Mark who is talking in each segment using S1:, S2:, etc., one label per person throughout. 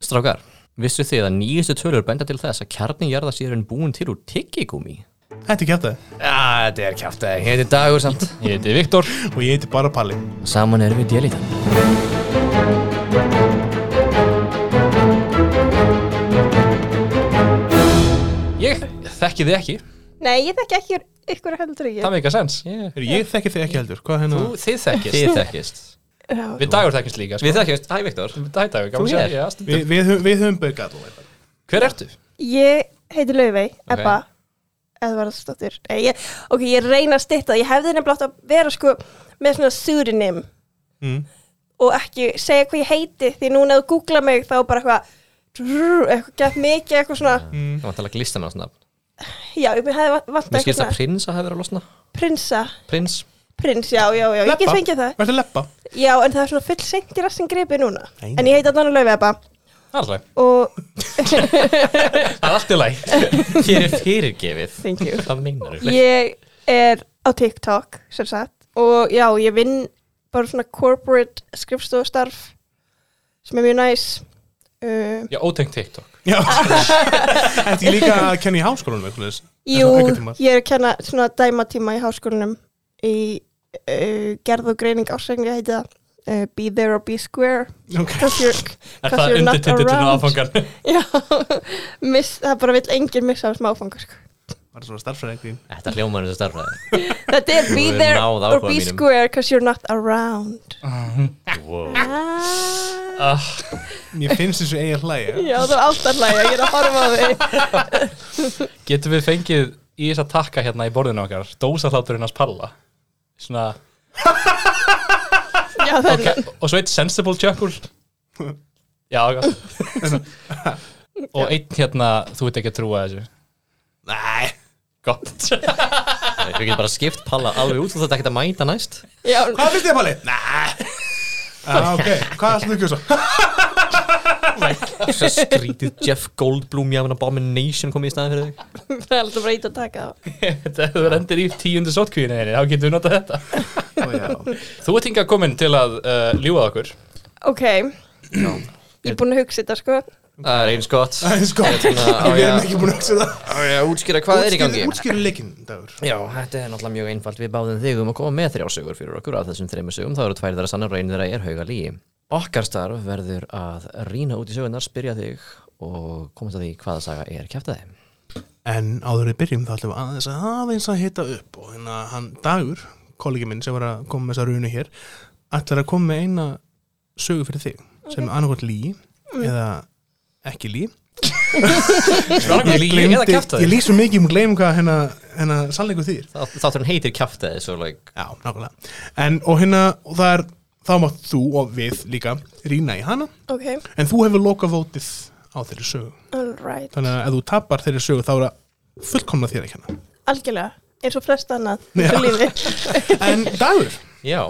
S1: Strákar, vissu þið að nýjustu tölur benda til þess að kjarni jarðar sé hann búin til úr tyggigúmi?
S2: Þetta er kjátaði
S1: Já, þetta er kjátt að ég heiti Dagur samt. Ég heiti Viktor.
S2: og ég heiti bara Palli.
S1: Saman erum við djelítan. Ég þekki þið ekki.
S3: Nei, ég þekki ekki ykkur heldur ekki.
S1: Það með ekki að sens. Yeah.
S2: Heyrðu, Ég þekki þig ekki heldur, hvað er hérna?
S4: Þú, þið þekkist
S1: Þið þekkist.
S4: Við dagur þekkist líka sko.
S1: Við þekkist. Hæ, Viktor.
S4: Við dag- dagur,
S1: Þú
S4: gaman að
S1: hér?
S4: segja já, stundum.
S2: Við, við, höfum- við höfum baukað allavega.
S1: Hver ertu?
S3: Ég heiti Laufey, Ebba, Eðvarðsdóttir. Nei, ég, ok, ég reyna að stitta það. Ég hefði nefnilega átt að vera sko með svona pseudonym
S2: Mm.
S3: og ekki segja hvað ég heiti því núna að googla mig þá bara eitthvað drrrr, eitthvað gett mikið eitthvað svona
S2: Mm.
S1: Það var að tala glista með hans nafn.
S3: já, ég hefði vant
S1: Mér
S3: eitthvað
S1: skilst að
S3: svona
S1: prinsa hefur verið að losna.
S3: prinsa,
S1: Prins.
S3: prins, já, já, já, ég get fengið það
S2: Verður leppa?
S3: já, en það er svona full sent í rassin gripi núna
S2: Nei, nei.
S3: en ég heiti allan að Laufey, Ebba
S4: Alltaf.
S3: og
S4: Það er allt í læg
S1: Fyrir fyrirgefið.
S3: Thank you.
S1: Hvað meinar þú?
S3: ég er á TikTok sem sagt og já, ég vinn bara svona corporate skrifstofstarf sem er mjög næs uh,
S4: Já, ótengt TikTok
S2: Já. Þetta er líka að kenna í háskólanum eitthvað þess.
S3: Jú,
S2: aukatímar.
S3: ég er að kenna svona dæmatíma í háskólanum í uh, gerð og greining ásækninga heiti það uh, Be there or be square
S2: Ok.
S3: Cause you're,
S4: Er
S3: 'cause
S4: það
S3: you're not
S4: undir titillinu
S3: around
S4: áfangan?
S3: Já, miss, það bara vill enginn missa af smá áfangar sko.
S2: Var það svona starffræðingvín?
S1: Þetta hljómaður þessu starfræði.
S3: Þetta er be
S1: hefur
S3: there
S1: náð
S3: or
S1: áhuga
S3: be
S1: mínum.
S3: square Cause you're not around
S1: Wow.
S3: ah.
S2: Mér finnst þessu eigin hlæja.
S3: Já, þú átt að hlæja, ég er að horfa á þig
S4: Getum við fengið í þess að takka hérna í borðinu okkar Dósahláturinn hans palla Svona
S3: Já, það
S4: Ok, og svo eitt sensible jökul Já, ok Og einn hérna, þú veit ekki að trúa þessu
S2: Nei.
S4: Gott
S1: Við getum bara skipt palla alveg út og þetta ekkert að mæta næst.
S3: Já,
S2: Hvað finnst þið, Palli? Nei. Ah, ok, hvað ætlum þú að kjósa?
S1: Svo skrítið Jeff Goldblum jáfn að Abomination komið í staðin fyrir þig.
S3: það er alltaf bara ít að taka það
S4: Þetta þú rendir í tíundu sótkvíðinu þinni Þá getum við notað þetta
S2: Ó, já.
S4: Þú ert hingað komin til að uh, ljúga okkur
S3: Ok Ég er búin að hugsa þetta, sko
S1: Það er eins gott.
S2: Það er sko.
S1: Hérna, á
S2: Við erum
S1: ég-
S2: ekki búin að hugsa um það.
S1: á ég að útskýra hvað er í gangi.
S2: Útskýru leikinn, Dagur.
S1: Já, þetta er náttúrulega mjög einfalt. Við báðum þig um að koma með þrjá sögur fyrir okkur af þessum þreymur sögum. Það eru tvær þeirra sannar og einu þeirra er hauga líi. Okkar starf verður að rýna út í sögunar, spyrja þig og komast að því hvaða saga er kæftið þeim.
S2: En áður við byrjum þá ætlum við aðeins að aðeins að hita upp og hérna hann Dagur, kollegi minn sem var að koma með þessa runu hér, ætlar að koma með eina sögu fyrir þig sem er annarkvæmt lí eða ekki lí.
S4: Ég
S2: gleymdi-
S4: eða kæfta
S2: Ég
S4: þig
S2: lýs svo mikið, ég múið gleym hvað hérna, hérna sannleikur þýr.
S1: Þáttur hann heitir kæftið, svo like,
S2: Já, nákvæmlega. En og hérna, og það er, þá mátt þú og við líka rýna í hana,
S3: Ok,
S2: en þú hefur lokavótið á þeirri sögu.
S3: alright
S2: Þannig að ef þú tapar þeirri sögu þá er það fullkomna þér ekki hérna. hana.
S3: Algjörlega, eins og flest annað
S2: Já.
S3: Þessu lífi
S2: En Dagur,
S1: já.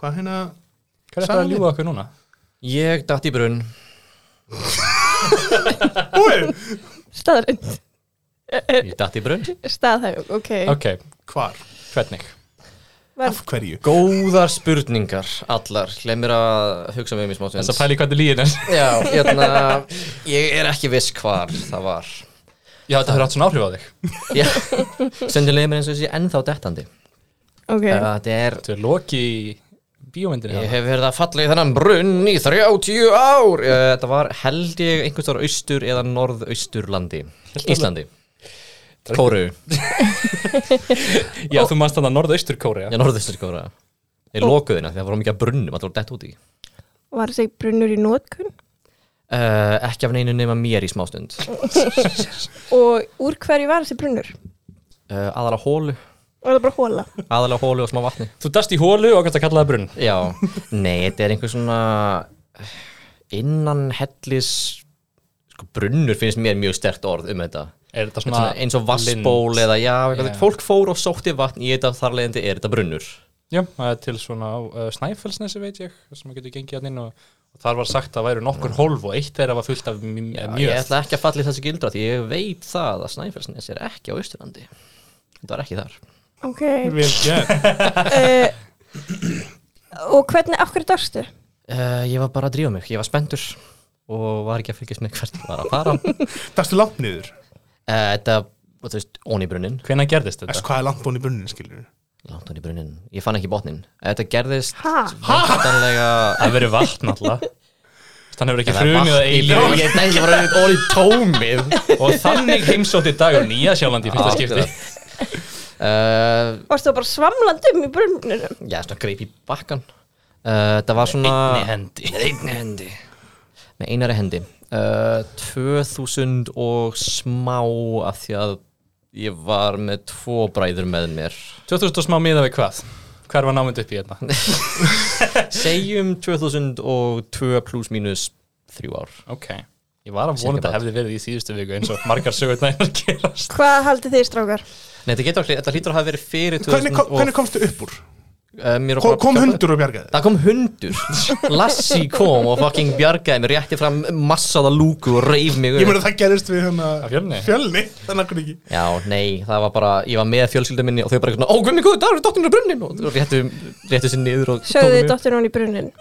S2: hvað hérna...
S4: Hvað er það að ljúga okkur núna?
S1: Ég datt í brunn.
S2: Úi,
S3: Staðarind
S1: Ég datt í brunn.
S3: Staðhæfum, ok
S4: Ok,
S2: hvar?
S4: hvernig?
S3: Verð
S2: af hverju
S1: Góðar spurningar, allar. Glemir að hugsa um með mér smátt.
S4: Þess að pæli hvernig líðin er
S1: Já, hérna, ég er ekki viss hvar það var
S4: Já, þetta hefur haft svona áhrif á þig
S1: Sendilega mér eins og þessi ennþá dettandi
S3: Ok,
S1: Þetta er,
S4: Þetta er loki í bíómyndinni
S1: ég
S4: hana.
S1: hef verið að falla í þennan brunn í 30 ár Eh, Þetta var held ég einhvers þar austur eða norðausturlandi Íslandi Kóru,
S4: Já, þú manst þannig að norðaustur Kórea
S1: já norðaustur sko, kóra Ég lokuði hérna því það voru mikið að brunnum að það voru dett út í
S3: var þessi brunnur í nótkun
S1: Uh, ekki af neinu nema mér í smástund uh,
S3: Og úr hverju var þessi brunnur?
S1: aðalega hólu,
S3: Var það bara hóla?
S1: aðalega hólu og smá vatni
S4: Þú dast í hólu og kannst að kalla það brunn
S1: Já, nei, þetta er einhver svona innan hellis sko, brunnur finnst mér mjög stert orð um þetta
S4: Er þetta
S1: Þetta er
S4: svona
S1: svona Hérna eins og vassból eða já, eitthvað,
S4: Já.
S1: fólk fór og sótti vatn í þetta þar leiðandi er þetta brunnur
S4: Já, það er til svona á uh, Snæfellsnesi veit ég sem maður getur gengið hann inn og, og þar var sagt að væru nokkur hólf og eitt þeirra var fullt af mj-
S1: já,
S4: mjöð
S1: Ég ætla ekki að falla í þessu gildra því ég veit það að Snæfellsnes er ekki á Austurlandi Þetta var ekki þar
S3: Ok
S2: Vel gert
S3: uh, Og hvernig, af hverju darstu?
S1: Eh, uh, Ég var bara að drífa mig, ég var spendur og var ekki að fylgjast með hvert var að fara Eh,
S2: Dastu langt niður?
S1: Þetta, þú veist, ón í brunnin
S4: Hvenær gerðist
S2: Þessi
S4: þetta?
S2: hvað er langt bóni í brunninu skilur?
S1: langt ón í brunnin, ég fann ekki botnin Þetta gerðist
S3: Ha?
S1: væntanlega
S4: Það verið vatn alltaf Þannig hefur ekki
S1: Það
S4: frumið
S1: var-
S4: að eilíf
S1: Ég dæði ekki bara ón í tómið
S4: Og þannig heimsótti dagur nýja sjálfandi í
S1: Ah,
S4: fyrsta skipti
S1: Eh,
S3: Varst þú bara svamland um í brunninum?
S1: Já, svona greip í bakkan uh, Það var svona
S4: Einni hendi.
S1: Með einni hendi Með einari hendi uh, 2000 og smá af því að ég var með tvo bræður með mér
S4: 2000 og smá miða við hvað? Hver var námynd upp í hérna?
S1: Segjum 2002 plus mínus þrjú ár
S4: Ok Ég var að vona að þetta hefði verið í síðustu viku eins og margar sögurnæðinar gerast
S3: Hvað haldið þið strákar?
S1: Nei, þetta getur allir, þetta hlýtur að hafa verið fyrir 2000
S2: Hvernig, kom,
S1: og-
S2: hvernig komstu upp úr?
S1: Eh, mér og
S2: Kom,
S1: bara-
S2: kom hundur og bjargaði?
S1: Það kom hundur, Lassi kom og fucking bjargaði mér, rétti fram massaða lúku og reif mig upp.
S2: Ég meina það gerist við hérna
S4: Á Fjölni?
S2: fjölni Þannig að hvernig ekki
S1: Já, nei, það var bara, ég var með fjölskylda minni og þau bara svona, ó, guð mig góð, það eru dóttinu brunnin og og réttu, réttu sér niður og
S3: Sögðu
S1: tóku
S3: þið
S1: mig.
S3: dóttir hún í brunnin?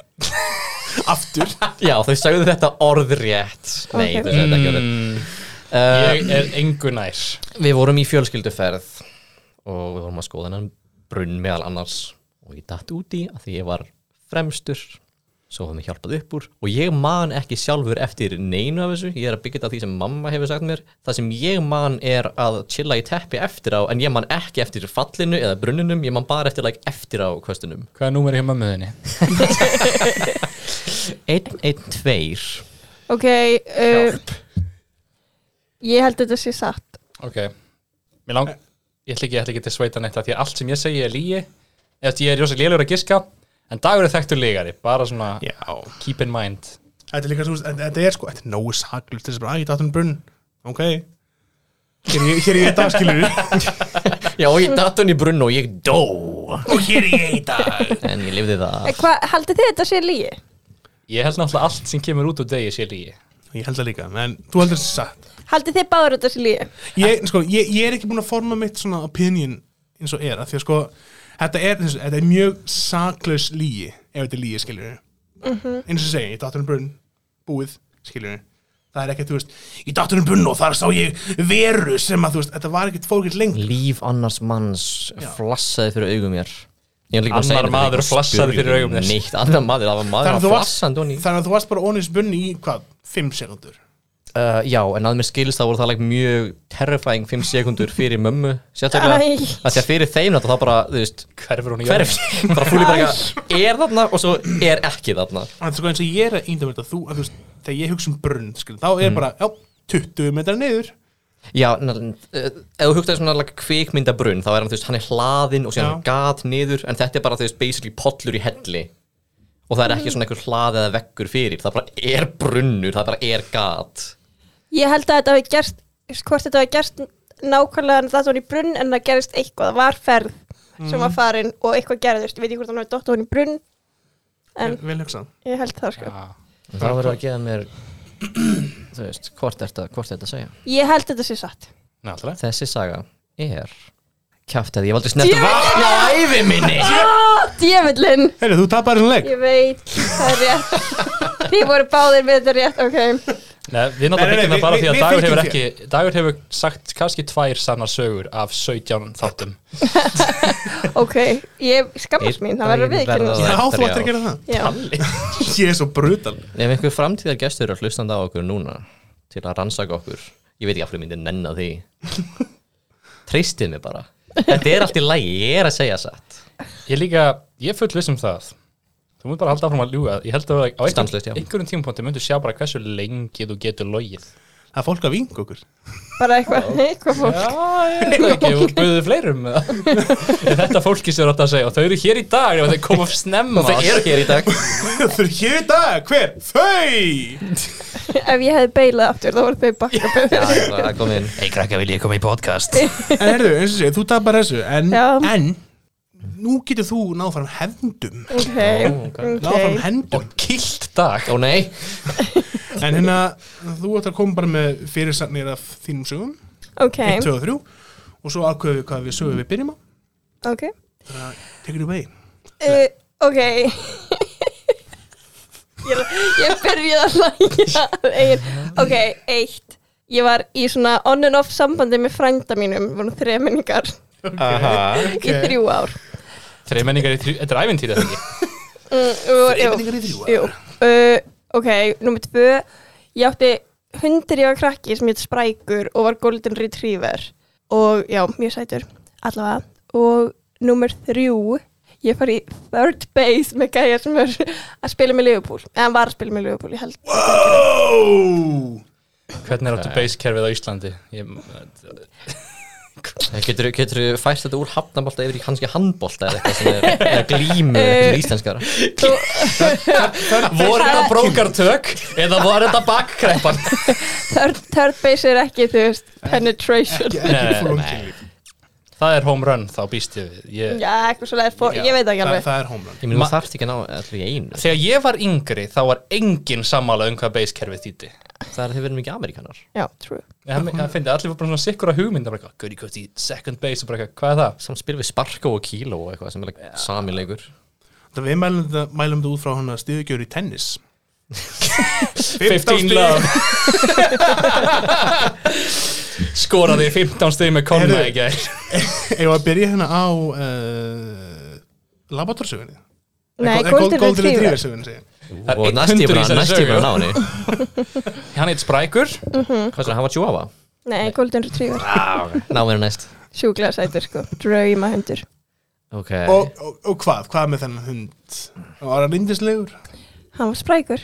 S2: Aftur
S1: Já, þau sagðu þetta orðrétt Nei,
S3: Ok.
S1: þau sagðu þetta ekki orðrétt uh,
S4: Mm. Ég er engu nær
S1: Við vorum í fjölskylduferð og við vorum að skoða hennan brunn meðal annars og ég datt út í að því ég var fremstur svo hafði mig hjálpað upp úr og ég man ekki sjálfur eftir neinu af þessu ég er að byggja þetta á því sem mamma hefur sagt mér það sem ég man er að chilla í teppi eftir á en ég man ekki eftir fallinu eða brunninum, ég man bara eftir like, eftir á kvöstunum
S4: Hvað er númerið hjá mömmuðinni?
S1: 1, 1, 2
S3: Ok, uh, ég held þetta sé satt.
S4: Ok Mér lang Ég ætla ekki, ég ætla ekki til að sveita neitt af Því að allt sem ég segi er lígi Eða ég er jósa lélugur að giska En dagur er þekktur lígari Bara svona
S2: Já
S4: keep in mind
S2: Þetta er líka svo, þetta- þetta er sko, þetta er nógu saklust Þessi bara, að ég datt um brunn Ok Hér er ég- hér er ég í dag skilur
S1: Já, ég datt hún í brunn og ég dó
S2: Og hér er ég í dag
S1: En ég lifði það
S3: En Hvað, Eh, haldið þið þetta sé lígi?
S4: Ég held náttúrulega allt sem kemur út úr degi sé lígi
S2: Ég held það líka, en þú heldur þessi satt
S3: Haldið þið báður þetta sé lígi?
S2: ég, sko, ég, ég er ekki búin að forma mitt svona opinion eins og er af því að sko þetta er, eins og- þetta er mjög saklaus lígi ef þetta er lígi skilur eins og segja, ég datt um brunn búið skilur það er ekkert, þú veist, ég datt um brunn og þar sá ég veru sem að þú veist þetta var ekkert fólkitt lengi
S1: Líf annars manns flassaði fyrir augum mér Ég er líka búinn að segja
S4: Annar
S1: þetta, ég er
S4: maður
S1: ekki búinn að
S4: flassaði
S1: spyrja
S4: fyrir augum þér.
S1: Neitt, annar maður, það var maður
S2: þannig að
S1: að
S2: þú
S1: flassandi hún í
S2: varst, þannig að þú varst bara ónins bunni í hvað, 5 sekundur
S1: uh, Já, en að mér skilst það voru það like, mjög terrifying 5 sekundur fyrir mömmu Sérstaklega,
S3: Æ.
S1: að því að fyrir þeim þetta þá bara, þú veist
S4: Hverfur hún í
S1: Hverf, bara fúli bara eitthvað, er þarna og svo er ekki þarna
S2: þannig að sko eins og ég er að índa mér þetta þú, að þú veist, þegar ég hugsa um brunn skilur, þá er bara, já, 20 metrar niður
S1: Já, na, uh, ef þú hugtaði svona like, kvikmyndabrunn þá er hann, þú veist, hann er hlaðinn og síðan gat niður en þetta er bara, þú veist, basically pollur í helli og það er ekki svona einhver hlað eða vekkur fyrir, það bara er brunnur það bara er gat
S3: Ég held að þetta hafi gerst, hvort þetta hafi gerst nákvæmlega en það var í brunn en það gerist eitthvað, það var ferð sem var farin og eitthvað gerðist, ég veit ekki hvort hann hafi dótt á hann í brunn en
S2: vel hugsað
S3: ég held það sko.
S4: Já.
S1: en það verður að gefa mér þú veist, hvort er þetta, hvort er þetta að segja
S3: Ég held þetta sé satt.
S4: Náttúrulega
S1: þessi saga er kjáftæði, ég valdi snett vatn á æfi minni
S3: Ah, Djöfullinn,
S2: Heyrðu, þú tapar þessum leik
S3: ég veit, það er rétt. Þið voru báðir með þetta rétt, ok.
S4: Nei, Við
S2: Nei, nei,
S4: náttúrulega
S2: nei,
S4: byggjum það
S2: við-
S4: bara
S2: við-
S4: því að
S2: við
S4: dagur hefur
S2: fylgjum
S4: ekki Dagur hefur sagt kannski tvær sannar sögur af 17 þáttum
S3: Ok, ég skammast mín, það verður við
S1: Einn
S3: ekki
S1: daginn
S3: náttúrulega.
S1: verða-
S2: Já, þú ættir að gera það
S3: Já,
S2: Ég er svo brutal
S1: ef einhver framtíðar gestur er hlustandi á okkur núna til að rannsaka okkur ég veit ekki af hverju myndi nenn að því treystið mér bara þetta er allt í lægi, ég er að segja satt
S4: Ég líka, ég er full viss um það Þú mútt bara halda áfram að ljúga Ég held að á einhvern-
S1: Stanslaust, já.
S4: einhverjum tímapunkti myndu sjá bara hversu lengi þú getur logið
S2: Það er fólk að vinga okkur
S3: bara eitthvað, eitthvað fólk.
S4: Já, ég veit ekki, og buðuðu fleirum með það En þetta fólki sem er alltaf að segja og þau eru hér í dag og þau koma snemma
S1: og það eru hér í dag
S2: Þau eru hér í dag, hver? Þau!
S3: Ef ég hefði beilað aftur, þá voru þau bakka
S1: já, það kom inn
S4: Ei krakka, vil ég koma í podcast
S2: En herðu, eins og sé, þú tapar þessu En,
S3: Já.
S2: en nú getur þú náð fram hefndum
S3: Ok,
S2: Náð fram
S3: ok.
S2: hendum
S4: Kilt dag
S1: ó nei,
S2: En hérna, þú ætti að koma bara með fyrirsagnir af þínum sögum
S3: Ok,
S2: 1, 2 og 3 Og svo ákveðum við hvað við sögum við byrjum á
S3: ok. Eh,
S2: Þannig að, Take it away
S3: Uh, ok ég, ég byrjaði að hlæja að eigin ok, eitt ég var í svona on and off sambandi með frænda mínum, við vorum þreja minningar
S1: Aha.
S3: í þrjú ár
S4: Þreimenningar í þrjú, þetta er ævintýri þetta ekki
S3: mm, þrjú
S2: Einningar í þrjú
S3: jú, uh, ok, nummer tvö ég átti hundir ég var krakki sem hétt Sprækur og var golden retriever og já, mjög sætur allavega, og nummer þrjú ég fari í third base með gæja sem er að spila með Liverpool, eða hann var að spila með Liverpool ég held
S2: Wow!
S4: Hvernig er áttu basekerfið á Íslandi? Ég,
S1: Getur þú fært þetta úr hafnabolta yfir í kannski handbolta eða eitthvað sem er, er glímu til íslenskara
S4: voru þetta brókartök eða voru þetta bakkrepan?
S3: Third, third base er ekki, þú veist, penetration
S2: Eh, Ekki,
S4: Nei,
S3: Já,
S2: ekki
S4: nei,
S2: fólum
S4: nei.
S2: kynlíf
S4: Það er home run þá býst ég við ég,
S3: eitthvað svo leið, ég veit ekki
S2: Það
S3: alveg
S2: það er homerun
S1: Ég meni, þú
S4: Ma-
S1: þarft ekki að ná allir í einu
S4: Þegar ég var yngri þá var engin sammála um hvað basekerfið þýtti
S1: Það er að þið verðum ekki amerikanar
S3: Já, true
S4: Ég- Það það fyndi, allir voru bara svona sikkura hugmynd bara, eitthvað, Goody Goody, second base og bara eitthvað, hvað er það?
S1: Samt spil við Sparko og Kilo og eitthvað sem er like, sami leikur
S2: Það við mælum þetta, mælum þetta út frá hann að stiðugjör í tennis
S4: 15 love Skoraði 15 stig með konna
S2: Heyrðu.
S4: í gær
S2: Ég var að byrja hérna á uh, Laboratórsögunni
S3: Nei, Golden Retriever
S2: sögunni segja
S4: Það er
S1: Og
S4: einn
S1: næst ég
S4: hundur í
S1: bara
S4: þessari
S1: næst ég bara
S4: sögu.
S1: ná henni
S4: Hann heit Sprækur
S1: Hvað er það, hann var tjófa?
S3: Nei, Golden Retriever
S1: Ná henni næst
S3: Sjúklega sætur, sko Drauma hundur
S1: Ok
S2: og, og, og hvað, hvað með þennan hund? Var hann indislegur?
S3: Hann var sprækur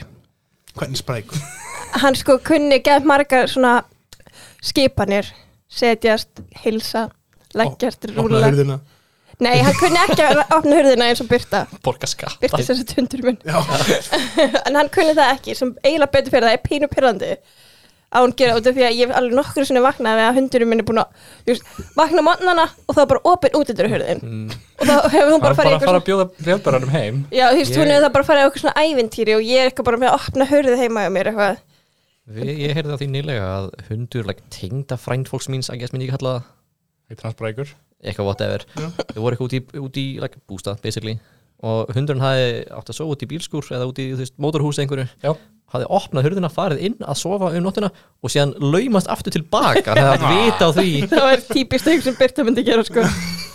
S2: Hvernig sprækur?
S3: Hann sko kunni gæð margar svona skipanir Setjast, hilsa, leggjast,
S2: Opnaði
S3: rúla
S2: hurðina
S3: Nei, hann kunni ekki að opna hurðina eins og Byrta
S4: Borga skatt
S3: Byrta sem þetta hundur minn
S2: Já,
S3: En hann kunni það ekki, sem eiginlega betur fyrir það er pínu pyrrandi að hún gera út af því að ég hef alveg nokkru sinni vaknaði við að hundurinn minn er búin að þú veist, vakna mótnana og þá er bara opinn út undir hurðin og þá hefur hún bara
S4: Hann bara
S3: farið í
S4: að fara
S3: eitthvað
S4: að bjóða velbæranum heim
S3: Já, þú veist, hún hefur það bara farið í eitthvað svona ævintýri og ég er eitthvað bara með að opna hurðið heima hjá mér eitthvað
S1: Við, Ég heyrði á því nýlega að hundur like, tengda frænd fólks míns að gæst minni ekki kalla það
S4: Heitir hann Sprækur
S1: eitthvað whatever þau voru eitthvað út í, út í like, bústað basically og hundurinn hafði átt að sofa út í bílskúr eða út í þú veist, mótorhúsi einhverju
S4: Já.
S1: hafði opnað hurðina, farið inn að sofa um nóttina og síðan laumast aftur tilbaka það
S2: Ah.
S1: hafði átt vita á því ég
S3: Það var típist eitthvað sem Birta myndi gera sko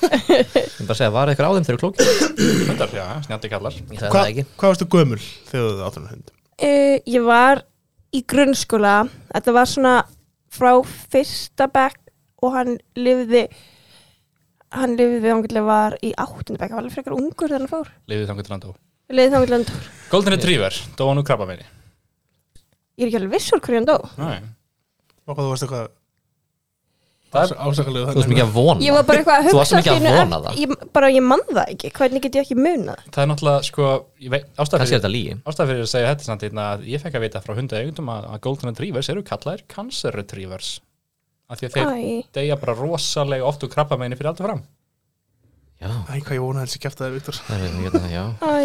S1: bara að segja, var eitthvað á þeim þegar klókið
S4: Hundar, já, snjandi kallar
S1: ég sagði
S2: Hva,
S1: það ekki
S2: hvað varstu gömul þegar þú áttur hann hund?
S3: uh, Ég var í grunnskóla Þetta var svona frá fyrsta bekk og hann lifði hann lifði ángjörlega var í áttundabekk, hann var alveg frekar ungur þegar hann fór
S4: Liðið þangur til hann dó
S3: Við leiðum þangað til hann dó.
S4: Golden Retriever, dó hann úr krabba meini
S3: Ég er ekki alveg vissur hverju hann dó.
S4: Það
S2: Og hvað þú varst eitthvað hérna?
S4: Það
S2: ás- ásakalegu
S1: þú varst mikið að vona
S3: Ég var bara eitthvað að
S1: Þú
S3: hugsa
S1: varst mikið að
S3: allt í einu
S1: vona
S3: eft-
S1: það.
S3: Ég, bara ég man það ekki, hvernig get ég ekki munað?
S4: er náttúrulega, sko ég veit- Ástæða
S1: kannski er
S4: fyrir,
S1: þetta lígi
S4: ástæða fyrir að segja þetta samt einna að ég fekk að vita frá hundu eigundum að, að Golden Retrievers eru kallaðir Cancer Retrievers af því að þeir
S3: Æ,
S4: deyja bara rosalega oft úr krabba meini fyrir aldur fram
S1: já,
S2: Æ, hvað ég vona að þessi kæfti það, Viktor
S1: það er hérna, já
S3: æ,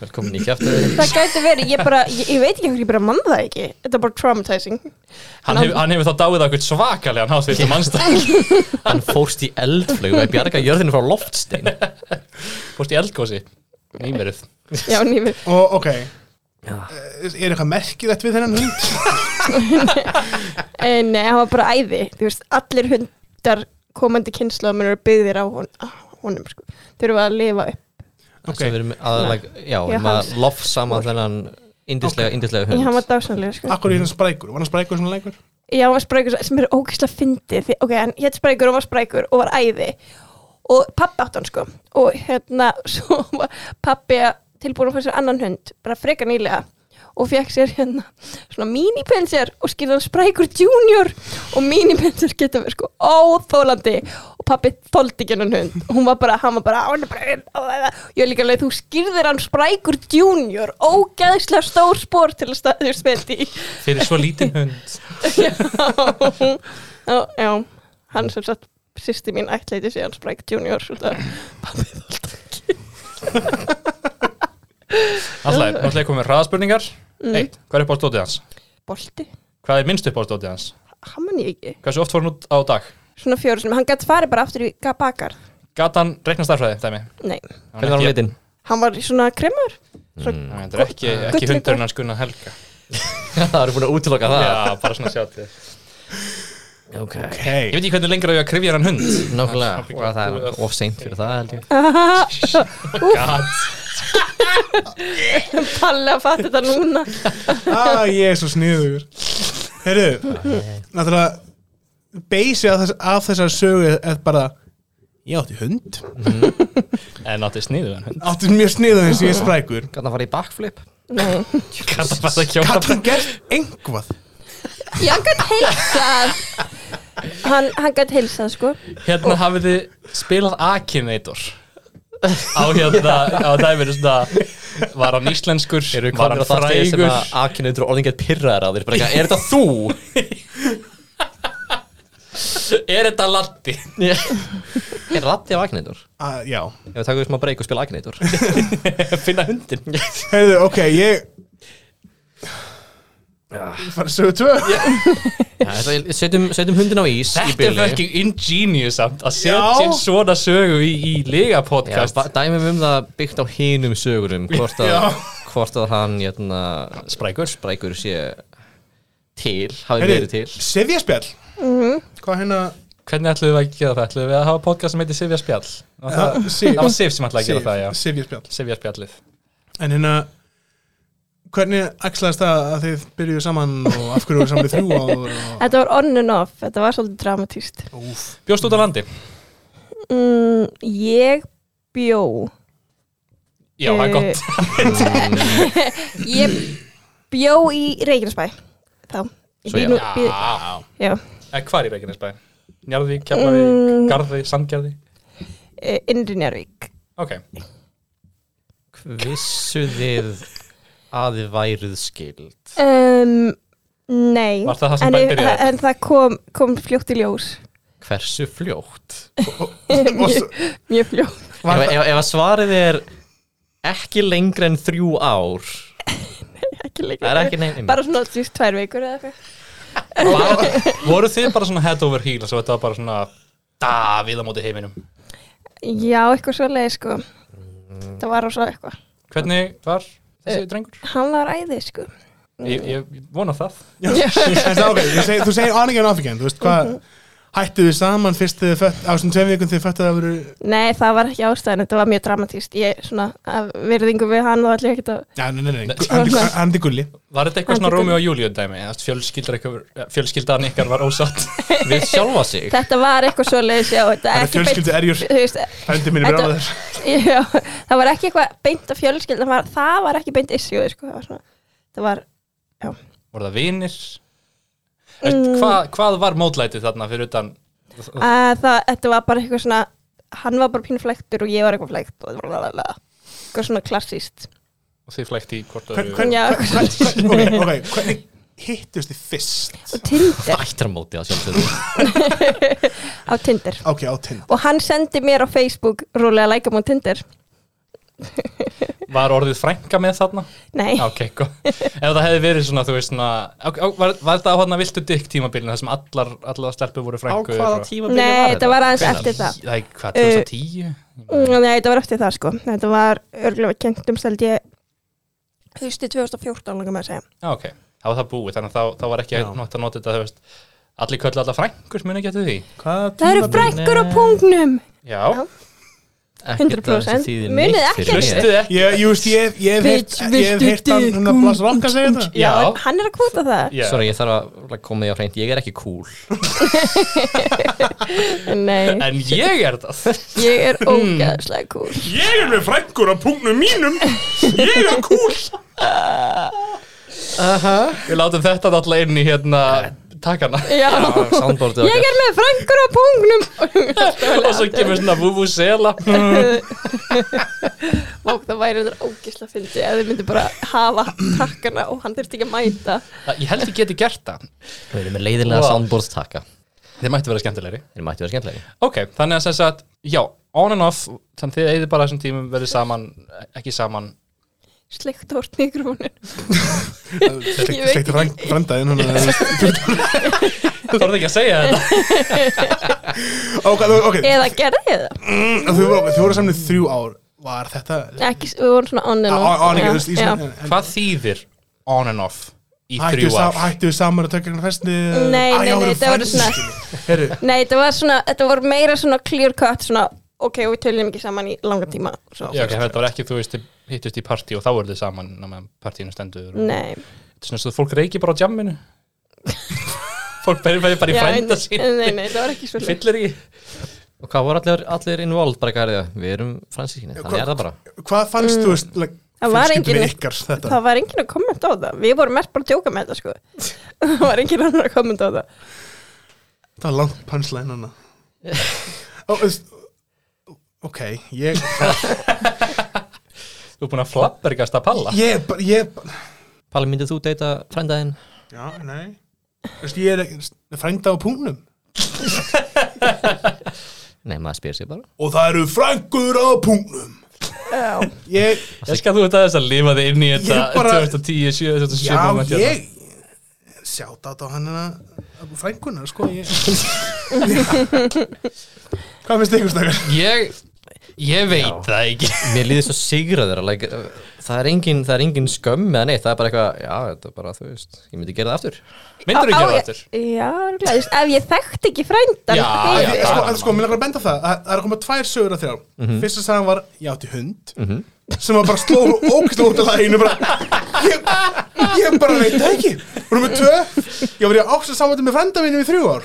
S1: velkomin í kjæftu
S3: það gæti verið, ég bara, ég, ég veit ekki hverju ég bara man það ekki. Þetta er bara traumatizing.
S4: Hann, hef, hann hefur þá dáið okkur svakalega hann hátt við mannstæð
S1: hann fórst í eldflögu að bjarga jörðinu frá loftstein
S4: Fórst í eldgósi Nýmerið
S3: Já, nýfið.
S2: Og ok,
S1: Já.
S2: Eh, er eitthvað merkilegt við þennan hund?
S3: En nei, hann var bara æði. Þú veist, allir hundar komandi kynnslóðum eru byggðir á hon, á honum, sko. Þau eru að lifa upp.
S2: Ok.
S1: okay. við erum að, like, já, við erum að
S3: hans-
S1: loft saman þennan indislega, indislega
S3: En
S1: hund
S3: hann var dásanlega, sko.
S2: Akkur er hann sprækur, var hann sprækur sem leikur?
S3: Já, hann var sprækur sem er ógeðslega fyndið því, ok, hann hétt sprækur og var sprækur og var æði og pappi átt hann sko og hérna, svo var pappi tilbúin að fá sér annan hund bara frekar nýlega og fekk sér hérna svona mínipensir og skýrði hann sprækur junior og mínipensir geta verið sko óþólandi og pappi þóldi ekki hann hund og hún var bara, hann var bara, hann er bara ég er líka leið, þú skýrðir hann sprækur junior, ógeðslega stór spór til að staða þér speti í
S4: Fyrir svo lítinn hund
S3: já, já, já, hann sem sagt sýsti mín ættleiti síðan Spræk Junior svolítið.
S4: Alltaf, náttúrulega komum við hraðaspurningar mm. Eitt, hvað er upp á stótið hans?
S3: bolti,
S4: Hvað er minnst upp á stótið hans?
S3: hann man ég ekki
S4: Hversu oft fór hann út á dag?
S3: svona fjóru sinum, hann gæti farið bara aftur í bakar
S4: Gat hann reikna starfræði, dæmi?
S3: nei,
S1: hvernig var hann
S4: ekki-
S1: litinn?
S3: hann var svona kremur Svo,
S4: Það er ekki, ekki
S3: Gullið
S4: hundurinn hans Gunnar Helga
S1: það eru búin að útiloka það
S4: Já, bara svona sjá til
S1: ok,
S4: Ég veit ekki hvernig lengra við að krifja hann hund
S1: nákvæmlega og það er of seint fyrir það held ég
S4: God.
S3: Palli að fatta þetta núna
S2: Ah, ég er svo sniður Heyrðu,
S4: Ah,
S2: náttúrulega Beisi af, þess, af þessar sögu er bara Ég átti hund
S4: En átti sniðu hann hund
S2: Átti mjög sniður eins og ég er sprækur
S1: kannan fara í backflip
S4: Kata fæta kjóta
S2: Gat hann gert einhvað
S3: Já, hann gætt heilsað Hann, hann gætt heilsað sko
S4: Hérna hafið þið spilað Akinator Á hérna, á dæminu svona Var hann íslenskur, var hann frægur
S1: að akinautur og orðin gett pirraðar á þér bara eitthvað, er þetta þú?
S4: Er þetta Latti?
S1: er ratti af akinautur?
S2: ah, Já
S1: ef við takum smá breyk og spila akinautur
S4: Finna hundin
S2: Heyrðu, ok, ég Fara sögu tvö
S1: setjum, setjum hundin á ís í
S4: Þetta er
S1: bílni.
S4: fucking ingenious samt Að
S2: Já.
S4: setja inn svona sögu í, í
S1: Já,
S4: Lega-podcast
S1: ba- dæmum um það byggt á hinum sögurum hvort að,
S2: Já.
S1: hvort að hann jötna, sprækur. sprækur sé til, hafi verið til
S2: Sefjaspjall Hvað hérna
S4: Hvernig ætlum við að gera það? Ætlum við að hafa podcast sem heitir Sifja Spjall? Var Það
S2: Ah, Sif-
S4: það var Sif sem ætlaði að gera það, já
S2: Sif- Sifjaspjall
S4: Sifja Spjallið
S2: En hérna Hvernig axlaðist það að þið byrjuðu saman og af hverju voru saman í þrjú ár og...
S3: Þetta var on and off, þetta var svolítið dramatíst
S2: Úf,
S4: Bjóst út á landi?
S3: mm, Ég bjó
S4: Já, það er gott
S3: Eh, Ég bjó í Reykjanesbæ Þá Ég
S1: Svo
S3: bý
S1: já.
S3: nú- bý- já.
S4: En hvað er Ah. Eh, í Reykjanesbæ? Njarðvík, Keflavík,
S3: Mm.
S4: Garði, Sandgerði?
S3: Eh, Innri Njárvík
S4: Ok,
S1: Vissu þið að þið væruð skild
S3: um, Nei
S4: Var það það sem
S3: En,
S4: bæ-
S3: ég-
S4: byrjaði?
S3: en það kom, kom fljótt í ljós
S1: Hversu fljótt?
S2: og svo,
S3: Mjög fljótt
S1: Ef, ef, ef að svarið er ekki lengra en þrjú ár
S3: Ekki
S1: Það
S3: lengur
S1: er ekki neinn
S3: Bara svona þú veist, tvær vikur eða eitthvað
S4: bara, voru þið bara svona head over heels og þetta var bara svona Davíð á móti heiminum
S3: Já, eitthvað svo sko Það var á svo eitthvað
S4: Hvernig var
S1: Eh,
S4: þessi drengur?
S3: Hann var æði sko
S4: Ég, ég vona það
S2: Já, en það ok, ég seg, þú segir on again, off again, þú veist hvað
S3: Mhm.
S2: hættu þið saman fyrst þið fött, á þessum tveim vikum þið fött að það voru
S3: Nei, það var ekki ástæðan, þetta var mjög dramatíst Ég, svona, af virðingu við hann og allir ekkert að
S2: Já, nei, nei, nei, gu- hann er- hann er gulli
S4: Var þetta eitthvað
S3: Hann
S4: svona
S3: tekur-
S4: Rómi og Júlíu dæmi? Eða Fjölskyldar ykkur- eh, Fjölskyldan ykkar var ósatt
S1: Við sjálfa sig
S3: Þetta var eitthvað svo leiðis, já
S2: Það
S3: Þetta er
S2: er
S3: ekki beint
S2: fjölskyldu erjur,
S3: Þú veist,
S2: fændi mínu
S3: Þetta-
S2: bráða þess
S3: já, það var ekki eitthvað beint af fjölskylda var, Það var ekki beint issue, sko Það var svona, það var
S4: Voru það vinir? Mm. Hva, hvað var mótlætið þarna fyrir utan
S3: að, það, Þetta var bara eitthvað svona Hann var bara pínu flæktur og ég var eitthvað flækt og blablabla. Eitthvað svona klassíst
S4: og þið flækt í hvort
S2: Hvern-
S4: öðru?
S2: hvern-
S3: Já.
S2: hvern- hvern- ok, ok, hvernig hittust þið fyrst?
S3: Og Tinder,
S1: Ættarmóti að sjálfsögðu
S3: á Tinder
S2: Ok, á tind
S3: Og hann sendi mér á Facebook Rúlega lækjum á Tinder
S4: Var orðið frænka með þarna?
S3: Nei,
S4: Ok, góð. Ef það hefði verið svona, þú veist svona, á, á, var, var þetta á hana viltu dykk tímabilinu þar sem allar, allar stelpur voru
S1: Á
S4: frængu?
S1: hvaða tíma
S3: Nei, þetta var aðeins eftir það
S4: Það er hvað, 2010?
S3: Mm, Nei, þetta var eftir það sko Þetta var örgulega kentum stæld ég Hausti 2014 langar maður að segja
S4: Já, ok. Þá var það búið, þannig að þá, þá var ekki
S2: Já.
S4: nátt að nota þetta, þú veist, allir köllu allar frængur muni ekki eftir því.
S3: Það eru frækkur á pungnum
S4: Já.
S3: Já.
S1: Ekkert að þessi
S3: 100%.
S1: þýðir
S3: Munið
S1: neitt
S3: ekkert.
S1: fyrir mér.
S4: Hlustuðu ekki?
S2: Ég, jú veist, ég ég hef heyrt- ég hef heyrt hann hann að blasa rokka segja þetta
S4: Já.
S3: en Hann er að kvota það
S4: Já.
S1: Sorry, ég þarf að like, koma því á hreint, ég er ekki cool
S3: Nei, Hmm.
S4: En ég er það.
S3: ég er ógæðslega cool
S2: Ég er með frængur á punktum mínum Ég er kúl
S4: Við látum þetta alltaf inn í hérna takkana.
S3: Já,
S1: Soundboardið
S3: ég er með frækkur á pungnum
S4: Og svo kemur svona vuvuzela.
S3: Og það væri þetta ógæðslega fyndi Ef þið myndu bara hafa takkana og hann þurfti ekki að mæta
S4: Ég held ég geti gert það.
S1: Við erum með leiðilega
S4: Wow.
S1: soundboard taka Þeir
S4: Þið mættu vera skemmtilegri.
S1: mættu vera skemmtilegri
S4: Ok, þannig að sem sagt, já, on and off þannig þið eigið bara þessum tímum verið saman ekki saman,
S3: Sleikt hort mikrofónin veit
S2: Sleikti frændaðin hann að
S4: þú voruð ekki að segja þetta
S2: Ok, ok,
S3: Eða gerði ég það
S2: En Þú, þú voru saman í þrjú ár var þetta
S3: ekki, við vorum svona on and off
S2: Áningi, þú
S3: Já,
S2: veist, í
S3: já.
S2: svona en-
S4: Hvað þýðir on and off í
S2: Hættu
S4: þrjú
S2: við sam-
S4: ár?
S2: hættu við saman að taka einhvern festni
S3: Nei, nei, nei, þetta voru svona-
S2: Heru,
S3: nei, þetta var svona, þetta var meira svona clear cut svona, ok, við töljum ekki saman í langa tíma svo.
S4: Já, ok, þetta var ekki, þú veist, þið hittust í partí og þá voru þið saman ná meðan partíinu stendur og-
S3: nei
S4: Þetta er svona eins og fólk reykir bara á jamminu Fólk berði bara, bara í
S3: Já,
S4: frænda
S3: en-
S4: sín
S3: nei, nei, það var ekki svona
S4: Fyllir ekki
S1: Og hvað voru allir, allir involved bara garðið? Við erum fransískinni, þannig er það bara
S2: Hvað fannst þú veist like,
S3: Mm. Það var
S2: fjölskyldunni
S3: engin-
S2: ykkar þetta
S3: það var enginn að kommenta á það við vorum mest bara að djóka með þetta sko það var enginn annar að kommenta á það
S2: Það var langt punchline hana Ó, þú veist, Ok, ég
S4: Þú er búin að flabbergast að palla
S2: Ég, bara- ég
S1: Palli, myndið þú deyta frændaðinn?
S2: Já, nei Þú veist, ég er ekki- frænda á pungnum
S1: Nei, maður spyr sér bara
S2: Og það eru frængur á pungnum
S3: Já.
S2: Ég,
S4: Ég skal þú þetta þess að lifa þig inn í
S2: Ég
S4: þetta
S2: bara-
S4: 2010, 7, 2007
S2: já,
S4: moment hérna.
S2: ég Sjátt á hann hana Frængunar, sko ég. Hvað finnst ykkur stakar?
S4: Ég, ég veit það ekki
S1: Mér líður svo sigraður like, uh, það, er engin, það er engin skömm eða neitt, það er bara eitthvað Já, þetta er bara, þú veist, ég myndi gera það aftur
S4: Myndur
S3: Á-
S4: ekki á
S3: á
S4: það
S3: ég-
S4: aftur
S3: já, örugglega, þú veist, ef ég þekkti ekki frændan
S4: Já, já, Mhm.
S2: Ég, sko,
S4: já.
S2: að, sko, mér langar að benda á það að það er að koma tvær sögur að þrjá fyrsta sagan var, ég átti hund
S4: Mhm.
S2: sem var bara sló ókvæslega út af læginu bara, ég, ég bara veit það ekki og nummer tvö, ég var í ákvæmst samvættu með frænda mínum í þrjú ár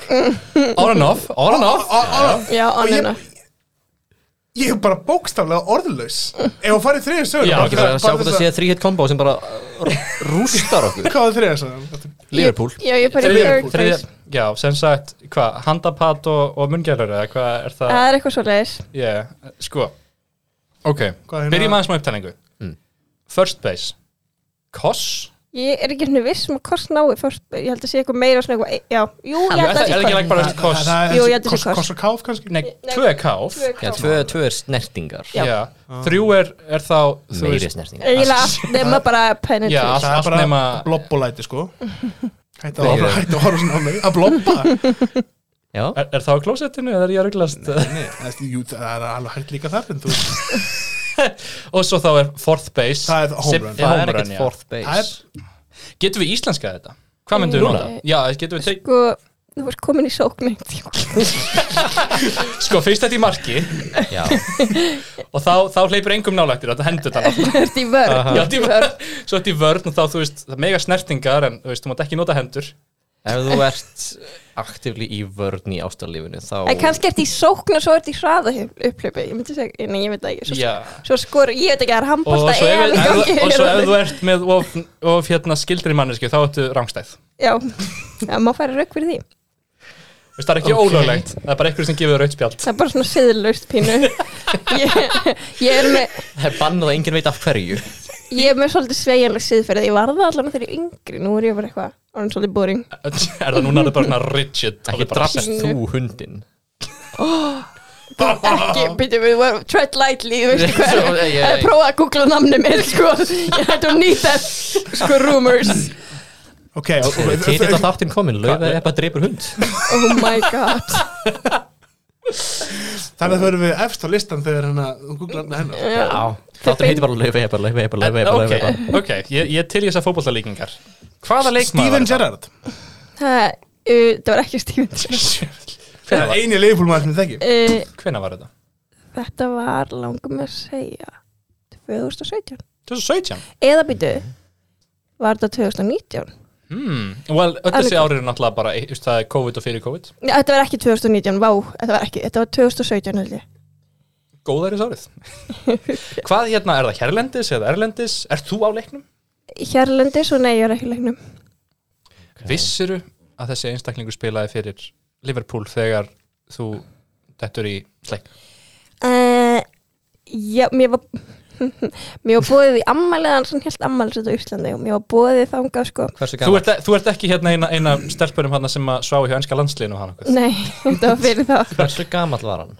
S4: On and off, on and off
S2: Á- á-
S3: já,
S2: og
S3: on
S2: ég-
S3: and off
S2: ég er bara bókstaflega orðlaus ef hún farið þriðja sögur
S4: Já,
S1: Ekki bara að sjá hvað það sé þrýhitt kombo sem bara uh, rústar okkur
S2: hvað var þriðja sögur?
S1: Liverpool
S3: já, ég bara í
S4: Þriðja-
S3: third
S4: þriðja-
S3: place
S4: Já, sem sagt, hvað, handapat og, og mungjælur eða hvað er það?
S3: það er eitthvað svo leiðis
S4: Yeah, sko Ok,
S2: Hvað er Mm. hérna?
S4: byrjum aðeins með upptæningu First base Koss
S3: ég er ekki henni viss um að kost nái fyrst, ég held að sé eitthvað meira svona eitthvað já, jú,
S4: Ég
S3: ég held
S4: ætla-
S3: að
S4: er ekki
S3: sé
S4: like bara þessi koss
S3: Jú, ég held að sé koss.
S2: koss og káf kannski
S4: Nei, tvö káf
S3: kost
S1: Já, tvö, tvö er snertingar
S3: Já.
S4: Já.
S2: Ah.
S4: Þrjú er, er þá þú
S1: Meiri
S4: veist,
S1: snertingar
S3: eiginlega allt nema bara
S4: Já,
S3: penetration
S4: allt,
S2: það er
S4: allt
S2: bara
S4: nema
S2: blobbolæti sko hætti
S1: Nei,
S2: að
S1: ég-
S2: hætti að horfa svona á mig að blobba
S1: Já,
S4: er, er það á klósettinu eða er ég að ruglast
S2: Nei, það er- jú, það er alveg hægt líka þar en þú veist
S4: Og svo þá er fourth base
S2: Það er home
S4: sem-
S2: run.
S1: það er
S4: home run,
S1: ekkert
S4: já.
S1: fourth
S2: Það
S1: base
S2: er-
S4: Getum við íslenska þetta? Hvað myndum við
S3: Núna?
S4: nota? Já, getum við teg...
S3: sko, þú varst komin í sókn einhvern tímann.
S4: Sko, fyrst þetta í marki
S1: Já,
S4: og þá, þá hleypur engum nálægtir þetta hendur þetta náttúrulega.
S3: þú ert í vörn
S4: Já, þetta í vörn. Svo þetta í vörn og þá, þú veist, það er mega snertingar en þú veist, þú mátt ekki nota hendur
S1: ef þú ert aktífli í vörn í ástarlífinu þá
S3: en kannski ert í sókn og svo ert í hraða upplöpi ég myndi segja, nei, ég veit það ekki svo,
S4: Já
S3: svo skor, ég veit ekki að það er
S4: og
S3: handbólta
S4: svo, ef,
S3: EM í
S4: ef,
S3: gangi
S4: og svo ef þú ert með of, of hérna, skildri mannesku þá ertu rángstæð
S3: já, það má færa rauk fyrir því
S4: Þú veist, það er ekki
S1: Ok.
S4: ólöglegt, það er bara einhverjum sem gefur þér rautspjald
S3: það er bara svona siðlaust pínu ég, ég er með
S1: Það er bannað að enginn veit af hverju
S3: ég er með svolítið sveiginleg siðferði ég var það allan þegar ég var yngri, nú er ég bara eitthvað orðin svolítið boring
S4: er það núna alveg bara svona rigid
S1: Ekki
S4: alveg bara-
S1: drafst þú hundin
S3: ekki, byrju, við varum tread lightly, þú veistu hvað
S1: Svo, eh, ég-
S3: ég hefði prófað að googla namni mér, sko ég hætti að nýta, sko, rumors
S2: ok, og- og-
S1: Títið að þáttinn komin, lögðaði eða dreipur hund
S3: oh my god
S2: þannig að þau eru við efst á listan þegar hérna, þú googlar hérna hennar
S1: Já, þáttur heitir bara Laufey Eppar, Laufey Eppar, Laufey Eppar,
S4: ok,
S1: Laufey Eppar
S4: ok, ég, ég til ég þess að fótbolta líkingar hvaða
S2: Steven
S4: leikmaður var þetta?
S2: Gerrard
S3: það uh, það var ekki Steven Gerrard.
S2: það er eini leifbólmaður sem ég þekki
S3: uh,
S4: hvenær var þetta?
S3: þetta var langum að segja 2017
S4: 2017
S3: eða byrju var þetta 2019
S4: hmm. well, öll þessi árið er náttúrulega bara e, þú veist, það er COVID og fyrir COVID
S3: Nei, þetta var ekki 2019, vá, þetta var ekki þetta var 2017 held ég
S4: góðæris árið hvað hérna, er það Herlendis eða Erlendis er þú á leiknum?
S3: Hérlendi, svo nei, ég er ekki í leiknum
S4: Vissiru að þessi einstaklingur spilaði fyrir Liverpool þegar þú dettur í sleik
S3: uh, Já, mér var mér var bóðið í ammælið hann sem held ammælið þetta á Íslandi og mér var bóðið þangað sko
S1: Hversu
S4: þú
S1: gaman?
S4: ert, þú ert ekki hérna eina, eina stelpunum hana sem að svá hjá ennska landsliðinu og hann okkur
S3: Nei, þetta var fyrir það
S1: Hversu gamall var hann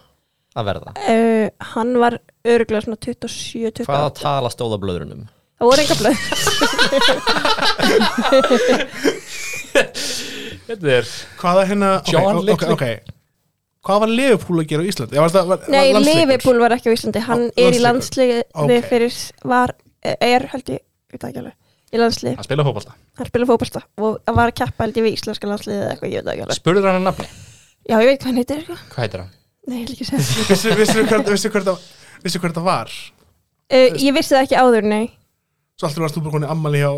S1: að verða?
S3: uh, Hann var örgulega svona 27, 28
S1: Hvaða tala stóða blöðrunum?
S3: Það voru enga blöð
S4: Þetta er
S2: hvaða hérna, ok,
S4: John
S2: hérna- ok,
S4: Little.
S2: ok Hvað var Liverpool að gera á Íslandi? Já, var það, var,
S3: Nei,
S2: var landsleikur?
S3: Liverpool var ekki á Íslandi Hann
S2: Á-
S3: er í landsliði
S2: landsleikur. Ok.
S3: fyrir var, eh, er held ég, ég veit það ekki alveg í landsliði,
S4: hann spila fótbolta
S3: hann spila fótbolta og var að keppa held ég við íslenska landsliði eða eitthvað, ég veit það ekki alveg
S4: spurður hann að nafni,
S3: Já, ég veit hvað hann heitir, sko. eitthvað.
S4: hvað heitir hann?
S3: nei, ég vil ekki segja það.
S2: Vissu vissu hvert- vissu hvert það- vissu hvert það var?
S3: uh, Ég vissi það ekki áður, nei
S2: Svo alltaf varst þú bara konið ammali hjá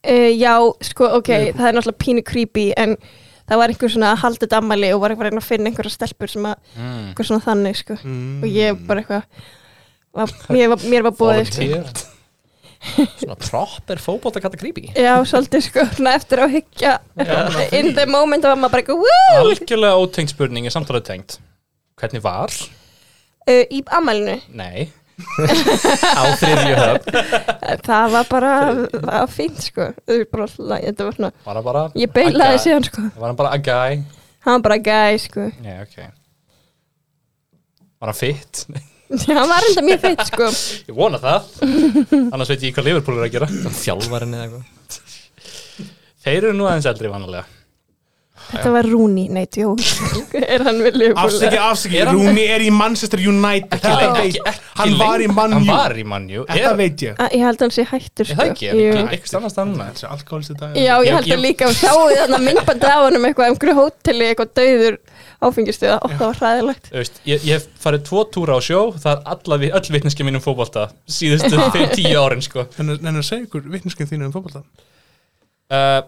S3: Uh, já, sko, ok,
S2: Nei.
S3: það er náttúrulega pínu creepy en það var einhver svona að halda dammali og var eitthvað að reyna að finna einhverja stelpur sem að,
S4: Mm.
S3: einhver svona þannig, sko
S2: mm,
S3: og ég bara eitthvað var, mér, var, mér var bóðið, sko
S4: Volunteered.
S1: Svona proper fótbolta kata creepy
S3: Já, svolítið, sko, svona eftir á hyggja in the moment var maður bara eitthvað "Woo!"
S4: algjörlega ótengt spurning er samtalið tengt hvernig var?
S3: uh, í ammalinu,
S4: Nei,
S1: á þriðju höfn
S3: það var bara það var fínt, sko Þau eru bara alltaf lagi, þetta var svona,
S4: var hann bara
S3: ég beilaði
S4: a guy?
S3: síðan, sko
S4: var hann bara a guy?
S3: hann var bara gæ, sko
S4: Nei, ok var hann fit? Nei,
S3: hann var enda mjög feitt, sko
S4: ég vona það annars veit ég hvað Liverpool er að gera
S1: þjálfarinn eða eitthvað
S4: þeir eru nú aðeins eldri vanalega
S3: Þetta var Rúni, nei, tjó Er hann við
S2: Afsaki,
S3: Liverpool?
S2: afsaki,
S4: Er hann-
S2: Rúni er í Manchester United
S4: Ekki
S2: Það
S4: lengi,
S2: veit-
S4: ekki- ekki
S2: Hann var í
S4: lengi.
S2: Man
S4: hann
S2: U.
S4: var í mannjú
S2: Þetta veit ég
S3: Æ, Ah, Ég held að hann sé hættur
S4: Er
S3: sko.
S4: það ekki? Er
S3: Jú.
S4: ekki eitthvað annars það núna?
S2: Þessi alkoholist í dag
S3: Já, ég held
S4: Ég-
S3: að
S4: ég-
S3: líka og sjáu þarna myndbandi af honum eitthvað einhverju hóteli, eitthvað dauður áfengistuða og það var hræðilegt
S4: Þú veist, ég, ég hef farið tvo túra á sjó það er alla, vi- öll vitneski mínum fótbolta síðustu fyrir tíu árin sko.
S2: En að segja ykkur vitniskeið þínu um fótbolta
S4: uh,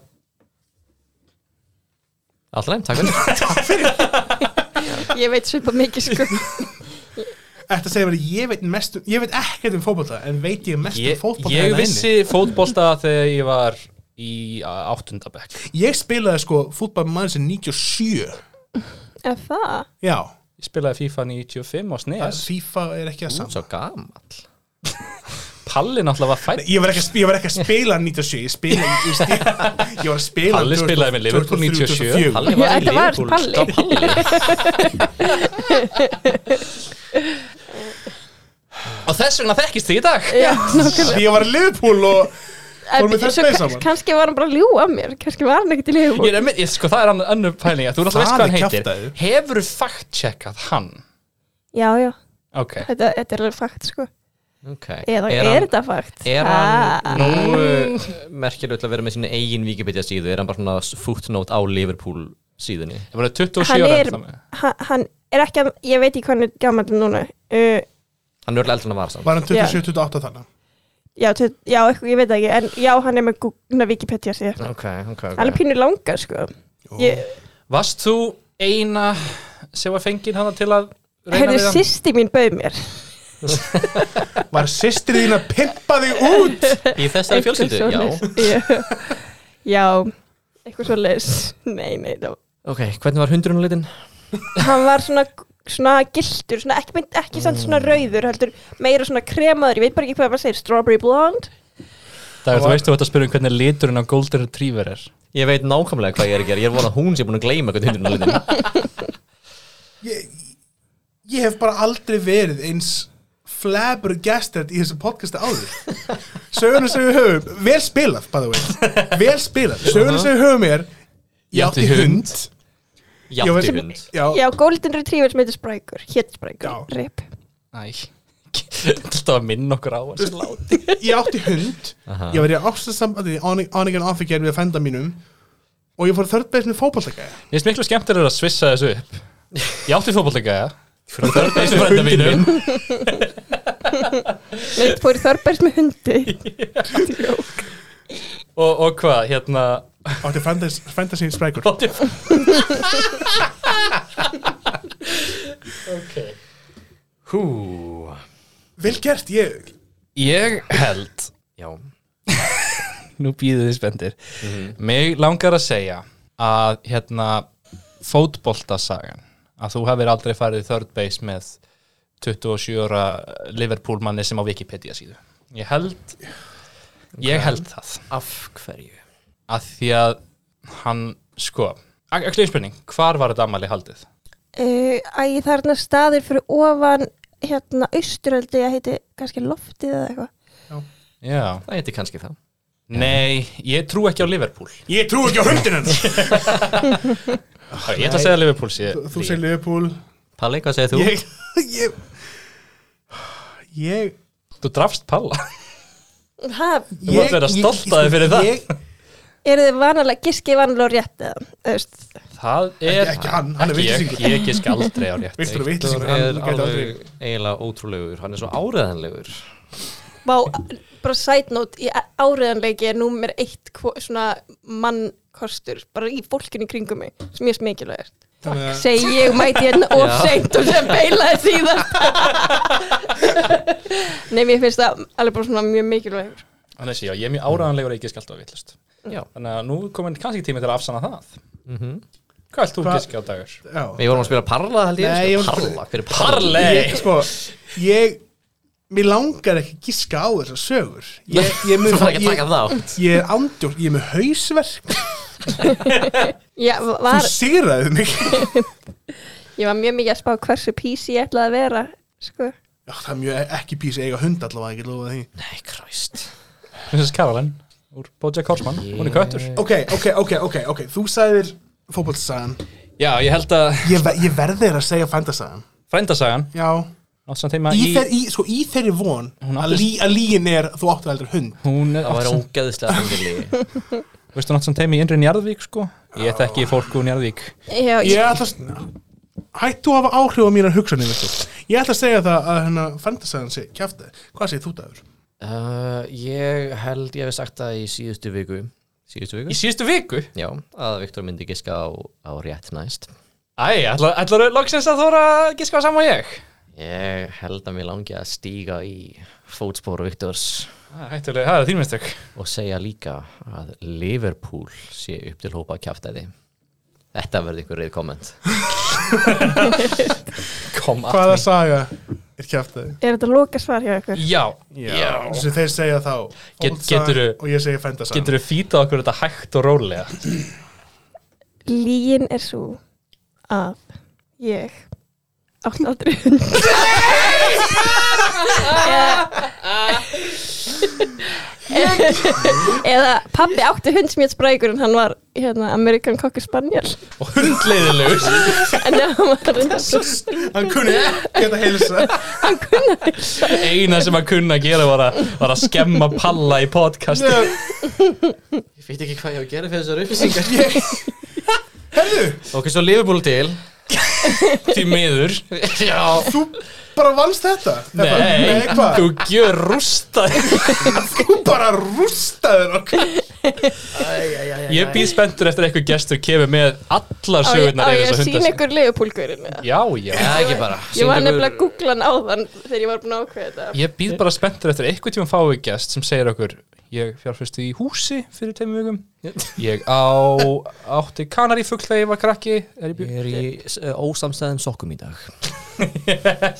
S1: alltaf læm, takk fyrir
S3: Ég veit svipa mikið sko
S2: Þetta segir mér að ég veit mest um, ég veit ekkert um fótbolta en veit ég mest um
S4: ég,
S2: fótbolta
S4: ég
S2: hérna inni.
S4: vissi fótbolta þegar ég var í uh, áttundabekk
S2: Ég spilaði sko fútbol maður sem 97
S3: Er það?
S2: Já,
S4: ég spilaði FIFA 95 á
S2: yes.
S4: SNES
S2: FIFA er ekki að saman
S1: svo gamall
S4: Palli náttúrulega var fætt
S2: Ég var ekki, að sp- ég var ekki að spila 97 Ég spila ég, stil, ég var að spila
S4: Palli spilaði með Liverpool 97.
S2: 2004.
S1: Palli var í
S3: Já, þetta var
S1: Liverpool
S3: Palli.
S1: Þetta var og þess vegna þekkist þið í dag
S3: Já, nákvæmlega
S2: Ég var að Liverpool og
S3: En
S2: Fórum við þess
S3: svo
S2: leið
S3: kann-
S2: saman?
S3: Kannski var hann bara að ljúga að mér Kannski var hann ekkert í
S4: Ég
S3: liðbúl
S4: er einmitt- ég, sko, það er hann önnur pæling að þú náttúrulega veist
S2: Það
S4: hvað hann
S2: er
S4: heitir
S2: kjaftæði.
S4: hefur fact-checkað hann
S3: Já, já,
S4: ok,
S3: þetta, þetta er alveg fakt sko
S1: okay.
S3: Eða er,
S1: hann-
S3: þetta fakt?
S1: er hann
S3: Ah.
S4: uh,
S1: nú merkilegt að vera með sína eigin Wikipedia síðu er hann bara svona footnote á Liverpool síðunni
S4: það voru 27
S3: Hann
S4: ára hérna
S3: er, hann, hann er ekki að, Ég veit ekki hvað hann er gammal núna uh,
S1: hann er öll eldan að vara samt
S2: var hann 27-28 þannig
S3: Já, tve- já, eitthvað, ég veit það ekki, en já, hann er með Google Wikipedia síðan.
S1: ok, ok,
S3: Hann er
S1: ok
S3: pínu langar, sko. Ég,
S4: varst þú eina sem var fengið hann til að reyna
S3: heyrðu,
S4: við hann
S3: sýsti mín bauð mér.
S2: Var systri þín að pimpa þig út
S1: í þessari fjölskyldu, já
S3: já. já, eitthvað svo leis. Nei, nei, það var...
S1: ok, hvernig var hundrun litin?
S3: Hann var svona, svona gildur, svona ekki, mynd, ekki samt svona rauður, heldur meira svona kremaður, ég veit bara ekki hvað maður segir, strawberry blonde.
S4: Dagur, þú veistu hvað þetta spyrum um hvernig liturinn á Golden Retriever er
S1: ég veit nákvæmlega hvað ég er að gera ég er von að hún sé búin að gleyma hvernig hundrun litin
S2: ég, ég hef bara aldrei verið eins flabur gestert í þessu podcasti áður sögurnar sem við höfum vel spilað, by the way vel spilað, sögurnar sem við höfum er ég átti hund Ég var-
S1: játti hund
S2: já,
S3: Já, golden retriever sem heitir Spryker, hétt Spryker,
S2: Já.
S3: rip.
S4: Æ, þetta var minn okkur á
S2: Þú
S4: þessi
S2: veist,
S4: lát
S2: ég átti hund ég var í ástasambandi on on again off again við fænda mínum og ég fór þörð beis með fótballtækæja
S4: Ég finnst miklu skemmtilega að svissa þessu upp Ég átti fótbollega Fyrir þörf þessu frænda mínum
S3: Nei, fór í Þorbergs með hundi.
S4: Og, og hvað, hérna
S2: átti frænda frænda sín sprækur
S4: Látti Ok Hú
S2: vel gert, ég
S4: Ég held
S1: já,
S4: Nú býðu þið spendir Mig langar að segja að hérna fótboltasagan að þú hefur aldrei farið í third base með 27 ára Liverpool manni sem á Wikipedia síðu Ég held Ég held það
S1: af hverju?
S4: að því að hann sko, ekki spurning, hvar var þetta ammali haldið?
S3: Uh, æ, það er hérna staðir fyrir ofan hérna austuröldi, ég heiti kannski loftið eða eitthvað.
S4: Já.
S1: það heiti kannski það
S4: Nei, ég trú ekki á Liverpool
S2: ég trú ekki á hundin hennar
S4: Hörru, Ég ætla að segja Liverpool sé
S2: Þú- Þú segir Liverpool
S1: Palli, hvað segir þú?
S2: Ég Ég Ég
S4: Þú drafst Palla
S3: Ha,
S4: Þú mátt vera stolt af þér fyrir það.
S2: ég-
S3: eru þið vanalega, giskið vanalega á rétt eða, þú veist,
S4: Það er
S2: Ekki- ekki hann, hann er
S4: Ekki ég,
S2: vitleysingur.
S4: Ég gisk aldrei á rétt
S2: Viktor er
S1: Viktor
S2: vitleysingur,
S1: er
S2: um hann gæti aldrei-
S1: alveg eiginlega ótrúlegur, hann er svo áreðanlegur
S3: Vá, bara side note, í áriðanleiki er númer eitt hvo- svona mannkostur bara í fólkinu í kringum mig sem ég smikilvægir.
S2: Þannig að-
S3: Segi ég mæti hérna of
S1: Já.
S3: seint og sem beilaði síðan. Nei, mér finnst það alveg bara svona mjög mikilvægur.
S4: Þannig að já, ég er mjög áraðanlegur að ég gisk alltaf á vitlust
S1: Já,
S4: Þannig að nú er komin kannski tími til að afsanna það
S1: mm
S4: Mhm. Hvað vilt þú
S2: Hva-
S4: giska á dagur?
S2: Já
S1: Við vorum að spila parla held ég
S2: Nei,
S1: Nei,
S2: ég var-
S1: Parla, hver er parla?
S4: Parley
S2: Ég, sko, ég Mér langar ekki að giska á þessar sögur Ég, ég, mun,
S1: Þú var ekki að
S2: ég,
S1: taka þá
S2: ég er andjótt, ég er með hausverk
S3: Já,
S2: Þú
S3: var,
S2: sigraði mig
S3: ég var mjög mikið að spá hversu písi ég ætlaði að vera, sko.
S2: Já, það er mjög ekki písi eiga hund allavega, ekki lofa því
S1: Nei, kræst
S4: Prinsess Karolin Úr Bojack Horseman Hún er köttur
S2: Ok, ok, ok, ok, ok, þú sagðir fótbollsagan
S4: Já, ég held að
S2: Ég, ve ég verði þér að segja fændasagan
S4: Frændasagan
S2: Já,
S4: Átt samt heima
S2: í,
S4: í
S2: þeir, í, sko, í þeirri von
S4: Hún
S2: að,
S4: átti-
S2: lí, að líin er að þú áttu aldrei hund
S4: Hún er
S1: Það
S4: átt
S1: var
S4: samt
S1: ógeðislega þungilí
S4: Veistu hún átt samt heima í innri Njarðvík sko Ég þekki fólk úr Njarðvík
S3: Já,
S2: Ég
S3: ég,
S2: ætla að Hættu að hafa áhrif á mínar hugsanir veistu. Ég ætla að segja það að hérna fantasagan sé kjafti Hvað segir þú dagur?
S1: uh, Ég held ég hef sagt það í síðustu viku Síðustu viku?
S4: Í síðustu viku
S1: Já, að Viktor myndi giska á, á rétt næst
S4: Æ, ætlar, ætlar loksins að þóra að giska á saman ég?
S1: Ég held að mér langi að stíga í fótspóru Viktors
S4: Það er Hættulega, það er þín mistök
S1: og segja líka að Liverpool sé upp til hópa kjaftaði Þetta verði einhver reyð komment
S4: Kom að
S2: Hvaða saga er kjafti?
S3: er þetta loka svar hjá ykkur?
S4: Já,
S2: Sem þeir segja þá
S4: Get-
S2: fótboltasagan
S4: geturðu-
S2: Og ég segja fantasagan
S4: Getur þú fýtað okkur þetta hægt og rólega?
S3: Líin er svo að ég átti aldrei hund eða, eða pabbi átti hund sem ég sprækur en hann var hérna, American Cocker Spaniel
S4: Og hundleiðilegur
S3: en hann var
S2: Hann kunni ekki að heilsa
S4: Eina sem að kunna að gera var að, var að skemma palla í podcast
S1: Ég veit ekki hvað ég á að gera fyrir þessar upplýsingar Herðu Ok, svo Liverpool til
S4: Því miður Já
S2: Þú bara vannst þetta
S4: Nei,
S2: Þetta- Nei hvað?
S4: þú gjör rústa
S2: Þú bara rústaður okkur
S4: Ég býð spenntur eftir að eitthvað gestur kemur með allar
S3: á ég, á
S4: sögurnar yfir
S3: ég
S4: þessa
S3: að
S4: hunda
S3: sína
S4: sinna.
S3: ykkur leifupólkurinn
S4: Já, já
S1: Já, ekki bara
S3: ég var
S1: Sýndu
S3: nefnilega
S1: okkur-
S3: að googla hann á þann þegar ég var búin að ákveða þetta
S4: Ég býð bara spenntur eftir að eitthvað tíma fáið gest sem segir okkur Ég fjárfyrstu í húsi fyrir tveimur vikum Ég á átti kanarífugl þegar ég var krakki er ég bjó...
S1: Ég er í uh, ósamstæðum sokkum í dag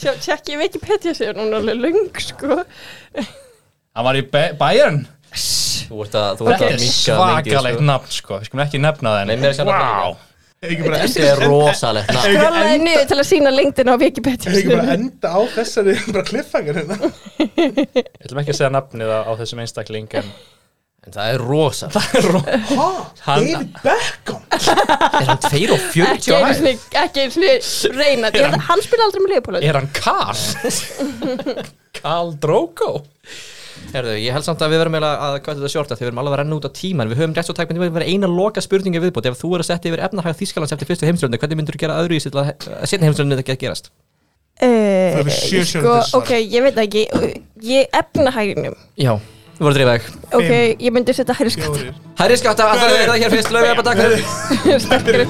S3: sjá, tjekk ég veit ekki petja sig hún er alveg lung sko
S4: Hann var í Be- Bayern
S1: Þú ert að, þú
S4: Þetta er svakalegt
S1: sko.
S4: nafn sko Við skulum ekki nefna það
S1: Nei, mér er ekki að nefna það.
S2: Ekki bara
S1: Þetta er rosalegt nafn
S3: Skrollaði niður til að sína lengdina á Wikipedia
S2: Hefur ekki bara enda á þessari bara kliffangar hérna?
S4: Við ætlum ekki að segja nafnið á, á þessum einstakling en
S1: En það er rosalegt
S2: Hva?
S4: Hann-
S2: David Beckham?
S1: Er hann 2 og
S3: ekki
S1: 40
S3: einu sinni, ekki einu sinni reyna ég, held að hann spila aldrei með Leopold
S4: Er hann Karl? Karl Drogo?
S1: Herðu, ég held samt að við verðum eiginlega að hvað þetta sjórta Þegar við erum alveg að renna út á tíman Við höfum rétt svo tækmyndi Við verðum eina loka spurninga viðbútt Ef þú er að setja yfir efnahag Þískalands eftir fyrstu heimstjórnir Hvernig myndur þú gera öðru í sérna heimstjórnir þetta ekki að eh, gerast?
S2: Það eru sjö sjónum
S3: sko,
S2: til svar.
S3: ok, ég veit það ekki ég efna hæginum
S1: Já, við vorum dreifæg
S3: ok, ég myndi setja hægri skatt
S2: Fjórir
S1: Herri skatta, það er það hér fyrst Laufey Ebba, takk fyrir.
S3: sterkari